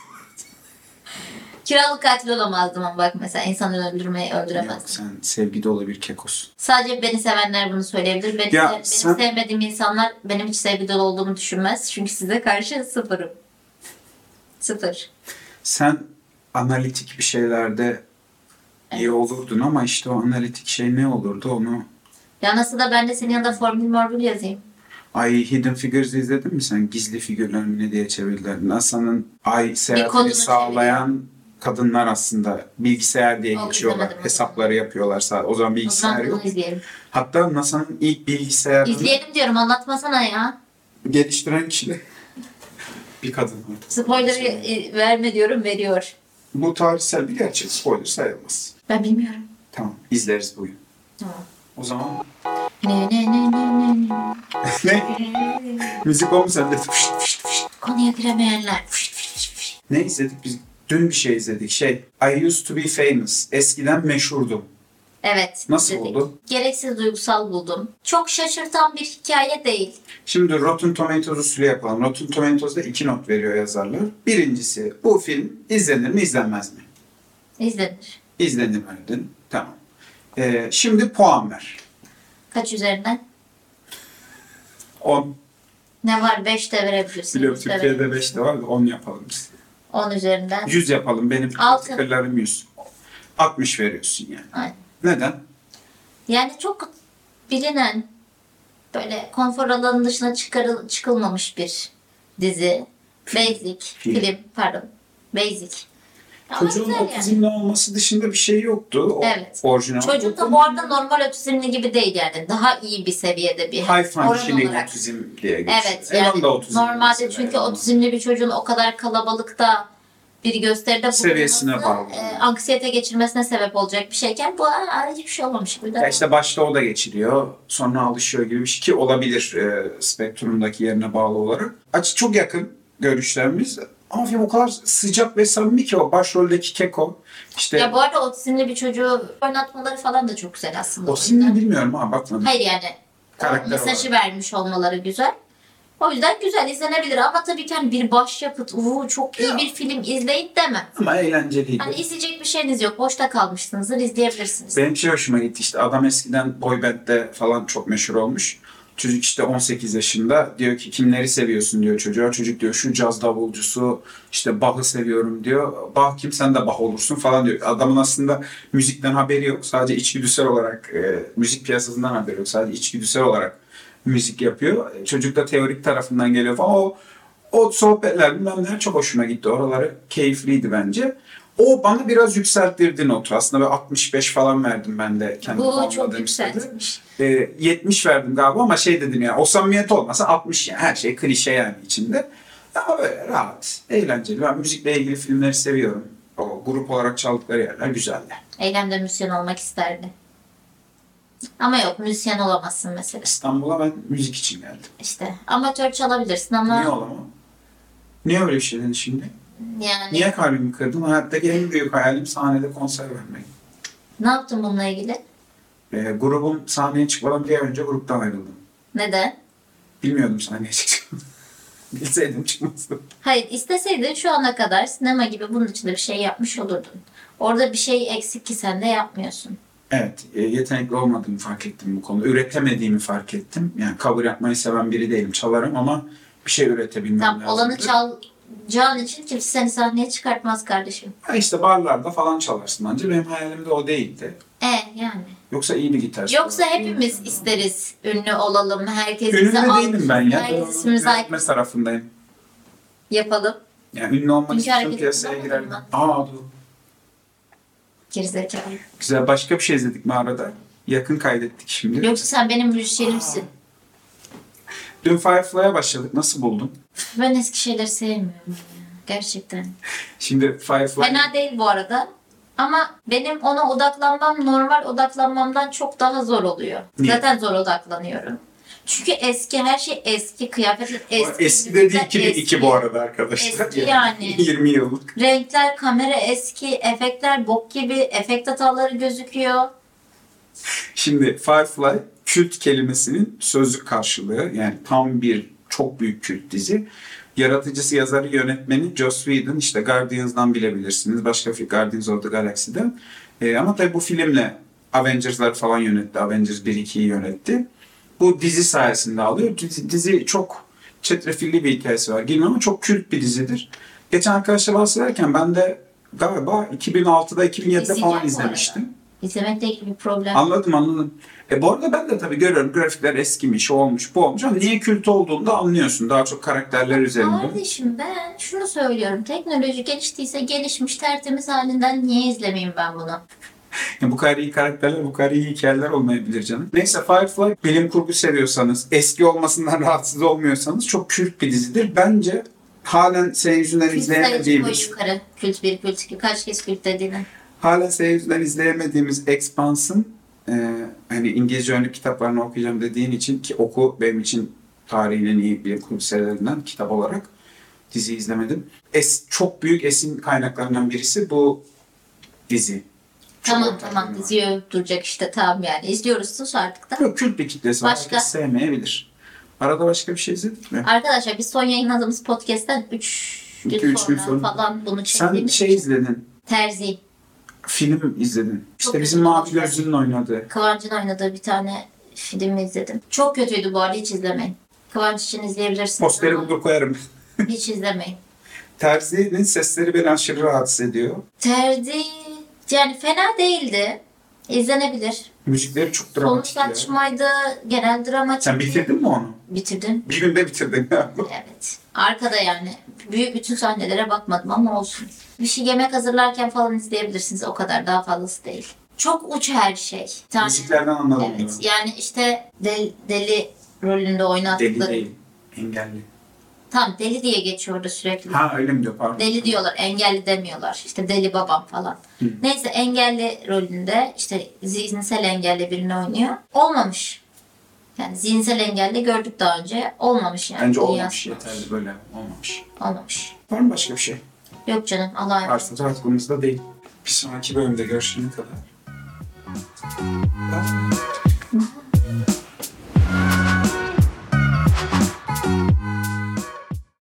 [SPEAKER 2] Kiralık katil olamazdım ama bak mesela insanı öldürmeyi
[SPEAKER 1] Yok
[SPEAKER 2] öldüremezdim.
[SPEAKER 1] sen sevgi dolu bir kekosun.
[SPEAKER 2] Sadece beni sevenler bunu söyleyebilir. Beni,
[SPEAKER 1] Ya
[SPEAKER 2] benim
[SPEAKER 1] sen-
[SPEAKER 2] sevmediğim insanlar benim hiç sevgi dolu olduğumu düşünmez. Çünkü size karşı sıfırım. Sıfır.
[SPEAKER 1] Sen analitik bir şeylerde iyi olurdun ama işte o analitik şey ne olurdu onu
[SPEAKER 2] Ya nasıl da ben de senin yanında formül morgül yazayım.
[SPEAKER 1] Ay Hidden Figures izledin mi sen? Gizli figürler mi ne diye çevirdiler. NASA'nın ay
[SPEAKER 2] konunun
[SPEAKER 1] seyahatini sağlayan kadınlar aslında bilgisayar diye
[SPEAKER 2] Onu
[SPEAKER 1] geçiyorlar.
[SPEAKER 2] Oh, izlemedim.
[SPEAKER 1] Hesapları yapıyorlar sadece. O zaman
[SPEAKER 2] O zaman
[SPEAKER 1] bilgisayar
[SPEAKER 2] bunu
[SPEAKER 1] yok.
[SPEAKER 2] izleyelim.
[SPEAKER 1] Hatta NASA'nın ilk bilgisayarını
[SPEAKER 2] İzleyelim diyorum anlatmasana ya.
[SPEAKER 1] geliştiren kişi bir kadın artık.
[SPEAKER 2] Spoiler e, verme diyorum veriyor.
[SPEAKER 1] Bu tarihsel bir gerçek. Spoiler sayılmaz.
[SPEAKER 2] Ben bilmiyorum.
[SPEAKER 1] Tamam izleriz bugün.
[SPEAKER 2] Tamam.
[SPEAKER 1] O zaman
[SPEAKER 2] Ne ne ne ne ne ne.
[SPEAKER 1] ne? Müzik o mu sende? Fışt.
[SPEAKER 2] Konuya giremeyenler. Fışt, fışt, fışt.
[SPEAKER 1] Ne izledik biz? Dün bir şey izledik. Şey I used to be famous. Eskiden meşhurdum.
[SPEAKER 2] Evet.
[SPEAKER 1] Nasıl
[SPEAKER 2] dedik.
[SPEAKER 1] oldu?
[SPEAKER 2] Gereksiz duygusal buldum. Çok şaşırtan bir hikaye değil.
[SPEAKER 1] Şimdi Rotten Tomatoes usulü yapalım. Rotten Tomatoes'da iki not veriyor yazarlar. Birincisi bu film izlenir mi izlenmez mi?
[SPEAKER 2] İzlenir.
[SPEAKER 1] İzlenir mi dedin? Tamam. Ee, şimdi puan ver.
[SPEAKER 2] Kaç üzerinden?
[SPEAKER 1] 10.
[SPEAKER 2] Ne var? 5 de verebiliyorsun.
[SPEAKER 1] Biliyorum
[SPEAKER 2] yüz de
[SPEAKER 1] Türkiye'de 5
[SPEAKER 2] verebiliyorsun.
[SPEAKER 1] de var da 10 yapalım biz.
[SPEAKER 2] 10 üzerinden.
[SPEAKER 1] 100 yapalım. Benim
[SPEAKER 2] Altı.
[SPEAKER 1] fikirlerim 100. 60 veriyorsun yani.
[SPEAKER 2] Aynen.
[SPEAKER 1] Neden?
[SPEAKER 2] Yani çok bilinen böyle konfor alanının dışına çıkarıl çıkılmamış bir dizi. Basic
[SPEAKER 1] Film.
[SPEAKER 2] film, pardon. Basic. Ama
[SPEAKER 1] Çocuğun
[SPEAKER 2] güzel yani.
[SPEAKER 1] otizmli olması dışında bir şey yoktu. O
[SPEAKER 2] Evet.
[SPEAKER 1] Orijinal.
[SPEAKER 2] Çocuğun da bu arada normal otizmli gibi değil yani. Daha iyi bir seviyede bir
[SPEAKER 1] High
[SPEAKER 2] oran
[SPEAKER 1] functioning
[SPEAKER 2] olarak.
[SPEAKER 1] otizm diye geçiyor.
[SPEAKER 2] Evet
[SPEAKER 1] Evan
[SPEAKER 2] yani
[SPEAKER 1] da otizmli
[SPEAKER 2] normalde
[SPEAKER 1] mesela.
[SPEAKER 2] çünkü otizmli bir çocuğun o kadar kalabalıkta bir gösteride
[SPEAKER 1] Seviyesine bağlı.
[SPEAKER 2] bulunması, e, anksiyete geçirmesine sebep olacak bir şeyken bu aa, hiçbir şey olmamış gibi.
[SPEAKER 1] Ya işte başta o da geçiriyor. Sonra alışıyor gibi bir şey ki olabilir e, spektrumdaki yerine bağlı olarak. Açık çok yakın görüşlerimiz. Ama film o kadar sıcak ve samimi ki o başroldeki Keko. işte
[SPEAKER 2] Ya bu arada otizmli bir çocuğu oynatmaları falan da çok güzel aslında.
[SPEAKER 1] o sinir bilmiyorum ha bakmadım.
[SPEAKER 2] Hayır yani o
[SPEAKER 1] Karakter
[SPEAKER 2] mesajı vermiş olmaları güzel. O yüzden güzel izlenebilir ama tabii ki hani bir başyapıt, uuu çok iyi
[SPEAKER 1] Ya.
[SPEAKER 2] bir film izleyin demem.
[SPEAKER 1] Ama eğlenceliydi.
[SPEAKER 2] Hani izleyecek bir şeyiniz yok, boşta kalmışsınızdır, izleyebilirsiniz.
[SPEAKER 1] Benim şey hoşuma gitti işte adam eskiden boy band'de falan çok meşhur olmuş. Çocuk işte 18 yaşında diyor ki kimleri seviyorsun diyor çocuğa. Çocuk diyor şu caz davulcusu işte Bach'ı seviyorum diyor. Bach kim sen de Bach olursun falan diyor. Adamın aslında müzikten haberi yok. Sadece içgüdüsel olarak e, müzik piyasasından haberi yok. Sadece içgüdüsel olarak müzik yapıyor. E, Çocuk da teorik tarafından geliyor falan. O, o sohbetler bilmem neler çok hoşuma gitti. Oraları keyifliydi bence. O bana biraz yükselttirdi notu. Aslında böyle 65 falan verdim ben de. kendi
[SPEAKER 2] Bu çok
[SPEAKER 1] puanladığım sitede.
[SPEAKER 2] yükseltmiş.
[SPEAKER 1] E, 70 verdim galiba ama şey dedim ya o samimiyet olmasa 60 yani her şey klişe yani içinde. Ama böyle rahat, eğlenceli. Ben müzikle ilgili filmleri seviyorum. o grup olarak çaldıkları yerler güzeldi.
[SPEAKER 2] Eylem de müzisyen olmak isterdi. Ama yok müzisyen olamazsın mesela.
[SPEAKER 1] İstanbul'a ben müzik için geldim.
[SPEAKER 2] İşte amatör çalabilirsin ama
[SPEAKER 1] Niye olamam? Niye öyle bir şey dedin şimdi?
[SPEAKER 2] yani
[SPEAKER 1] Niye kalbimi kırdın? Hayattaki en büyük hayalim sahnede konser vermek.
[SPEAKER 2] ne yaptın bununla ilgili?
[SPEAKER 1] Ee, grubum sahneye çıkmadan bir ay önce gruptan ayrıldım.
[SPEAKER 2] Neden?
[SPEAKER 1] Bilmiyordum sahneye çıkacağım. Bilseydim çıkmazdım.
[SPEAKER 2] Hayır isteseydin şu ana kadar sinema gibi bunun için de bir şey yapmış olurdun. Orada bir şey eksik ki sen de yapmıyorsun.
[SPEAKER 1] Evet, e, yetenekli olmadığımı fark ettim bu konuda. Üretemediğimi fark ettim. Yani cover yapmayı seven biri değilim. Çalarım ama bir şey üretebilmem
[SPEAKER 2] Tam
[SPEAKER 1] lazım.
[SPEAKER 2] olanı çalacağın için kimse seni sahneye çıkartmaz kardeşim.
[SPEAKER 1] Ha işte barlarda falan çalarsın bence. Benim hayalim de o değildi.
[SPEAKER 2] E yani.
[SPEAKER 1] Yoksa iyi bir gitar.
[SPEAKER 2] Yoksa
[SPEAKER 1] çalarım.
[SPEAKER 2] hepimiz isteriz ünlü olalım. Herkes
[SPEAKER 1] Ünlü
[SPEAKER 2] bize
[SPEAKER 1] de
[SPEAKER 2] al-
[SPEAKER 1] değilim ben ya. Ben
[SPEAKER 2] Herkes
[SPEAKER 1] onun
[SPEAKER 2] ismimizi al-
[SPEAKER 1] Üretme tarafındayım.
[SPEAKER 2] yapalım.
[SPEAKER 1] Yani ünlü olmak
[SPEAKER 2] Çünkü
[SPEAKER 1] için
[SPEAKER 2] hareketli
[SPEAKER 1] piyasaya
[SPEAKER 2] olmadım
[SPEAKER 1] girerdim.
[SPEAKER 2] ben.
[SPEAKER 1] Aa dur.
[SPEAKER 2] Gerizekalı.
[SPEAKER 1] Güzel. Başka bir şey izledik mi arada? Yakın kaydettik şimdi.
[SPEAKER 2] Yoksa sen benim müzisyenimsin.
[SPEAKER 1] Dün Firefly'a başladık. Nasıl buldun?
[SPEAKER 2] Ben eski şeyleri sevmiyorum. ya. Gerçekten.
[SPEAKER 1] Şimdi Firefly...
[SPEAKER 2] Fena değil bu arada. Ama benim ona odaklanmam normal odaklanmamdan çok daha zor oluyor.
[SPEAKER 1] Niye?
[SPEAKER 2] Zaten zor odaklanıyorum. Çünkü eski her şey eski kıyafetler eski.
[SPEAKER 1] Eski dedi
[SPEAKER 2] müzikler
[SPEAKER 1] 2002 bu arada arkadaşlar.
[SPEAKER 2] Eski yani.
[SPEAKER 1] 20 yıllık.
[SPEAKER 2] Renkler, kamera eski, efektler bok gibi, efekt hataları gözüküyor.
[SPEAKER 1] Şimdi Firefly kült kelimesinin sözlük karşılığı yani tam bir çok büyük kült dizi. Yaratıcısı, yazarı, yönetmeni Joss Whedon işte Guardians'dan bilebilirsiniz. Başka bir Guardians of the Galaxy'den. Ee, ama tabii bu filmle Avengers'ları falan yönetti. Avengers 1-2'yi yönetti. Bu dizi sayesinde alıyor. Dizi, dizi çok çetrefilli bir hikayesi var. Girmiyorum ama çok kült bir dizidir. Geçen arkadaşlar bahsederken ben de galiba 2006'da 2007'de
[SPEAKER 2] İzleyeceğim bu
[SPEAKER 1] falan
[SPEAKER 2] arada.
[SPEAKER 1] izlemiştim.
[SPEAKER 2] İzlemekle ilgili bir problem.
[SPEAKER 1] Anladım anladım. E bu arada ben de tabii görüyorum grafikler eskimiş, o olmuş, bu olmuş ama niye kült olduğunu da anlıyorsun. Daha çok karakterler üzerinde.
[SPEAKER 2] Kardeşim ben şunu söylüyorum. Teknoloji geliştiyse gelişmiş tertemiz halinden niye izlemeyeyim ben bunu?
[SPEAKER 1] Yani bu kadar iyi karakterler, bu kadar iyi hikayeler olmayabilir canım. Neyse Firefly bilim kurgu seviyorsanız, eski olmasından rahatsız olmuyorsanız çok kült bir dizidir. Bence halen senin yüzünden
[SPEAKER 2] Kült sayıcı koy
[SPEAKER 1] izleyemediğimiz,
[SPEAKER 2] yukarı. Kült bir, kült iki. Kaç kez kült dediğini.
[SPEAKER 1] halen senin yüzünden izleyemediğimiz Expanse'ın e, hani İngilizce önlük kitaplarını okuyacağım dediğin için ki oku benim için tarihinin iyi bilim kurgu serilerinden kitap olarak dizi izlemedim. Es, çok büyük esin kaynaklarından birisi bu dizi. Çok
[SPEAKER 2] Tamam
[SPEAKER 1] ortak
[SPEAKER 2] tamam
[SPEAKER 1] bir var.
[SPEAKER 2] diziyi duracak işte tamam yani. İzliyoruz sus artık da.
[SPEAKER 1] Yok kült bir kitlesi var.
[SPEAKER 2] Başka?
[SPEAKER 1] Herkes sevmeyebilir. Arada başka bir şey izledik mi?
[SPEAKER 2] Arkadaşlar biz son yayınladığımız podcast'ten 3 gün,
[SPEAKER 1] İki, üç gün
[SPEAKER 2] sonra
[SPEAKER 1] sonra.
[SPEAKER 2] falan bunu
[SPEAKER 1] Sen
[SPEAKER 2] çektiğimiz
[SPEAKER 1] şey
[SPEAKER 2] için.
[SPEAKER 1] izledin.
[SPEAKER 2] Terzi.
[SPEAKER 1] Film izledin. İşte bizim
[SPEAKER 2] Çok güzel.
[SPEAKER 1] Mavi Gözlü'nün oynadığı.
[SPEAKER 2] Kıvanç'ın oynadığı bir tane filmi izledim. Çok kötüydü bu arada hiç izlemeyin. Kıvanç için izleyebilirsiniz.
[SPEAKER 1] Posteri
[SPEAKER 2] ama
[SPEAKER 1] bulur koyarım.
[SPEAKER 2] Hiç izlemeyin.
[SPEAKER 1] Terzi'nin sesleri beni aşırı rahatsız ediyor.
[SPEAKER 2] Terzi yani fena değildi. İzlenebilir.
[SPEAKER 1] Müzikleri çok dramatik ya.
[SPEAKER 2] Sonuçlar çıkmaydı. Genel dramatik.
[SPEAKER 1] Sen bitirdin mi onu?
[SPEAKER 2] Bitirdin.
[SPEAKER 1] Bir günde bitirdin ya.
[SPEAKER 2] Evet. Arkada yani. Büyük bütün sahnelere bakmadım ama olsun. Bir şey yemek hazırlarken falan izleyebilirsiniz. O kadar daha fazlası değil. Çok uç her şey. Bir tane-
[SPEAKER 1] Müziklerden anladım.
[SPEAKER 2] Evet.
[SPEAKER 1] bunu.
[SPEAKER 2] Yani işte deli, deli rolünde oynattıkları.
[SPEAKER 1] Deli değil. Engelli.
[SPEAKER 2] Tam deli diye geçiyordu sürekli.
[SPEAKER 1] Ha öyle mi diyor pardon.
[SPEAKER 2] Deli diyorlar, engelli demiyorlar. İşte deli babam falan. Neyse engelli rolünde işte zihinsel engelli birini oynuyor. Olmamış. Yani zihinsel engelli gördük daha önce. Olmamış yani.
[SPEAKER 1] Bence olmamış
[SPEAKER 2] Dünyası-
[SPEAKER 1] yeterli böyle. Olmamış.
[SPEAKER 2] Olmamış.
[SPEAKER 1] Var mı başka bir şey?
[SPEAKER 2] Yok canım Allah'a emanet.
[SPEAKER 1] Artık aklımızda değil. Bir sonraki bölümde görüşene kadar. Bye.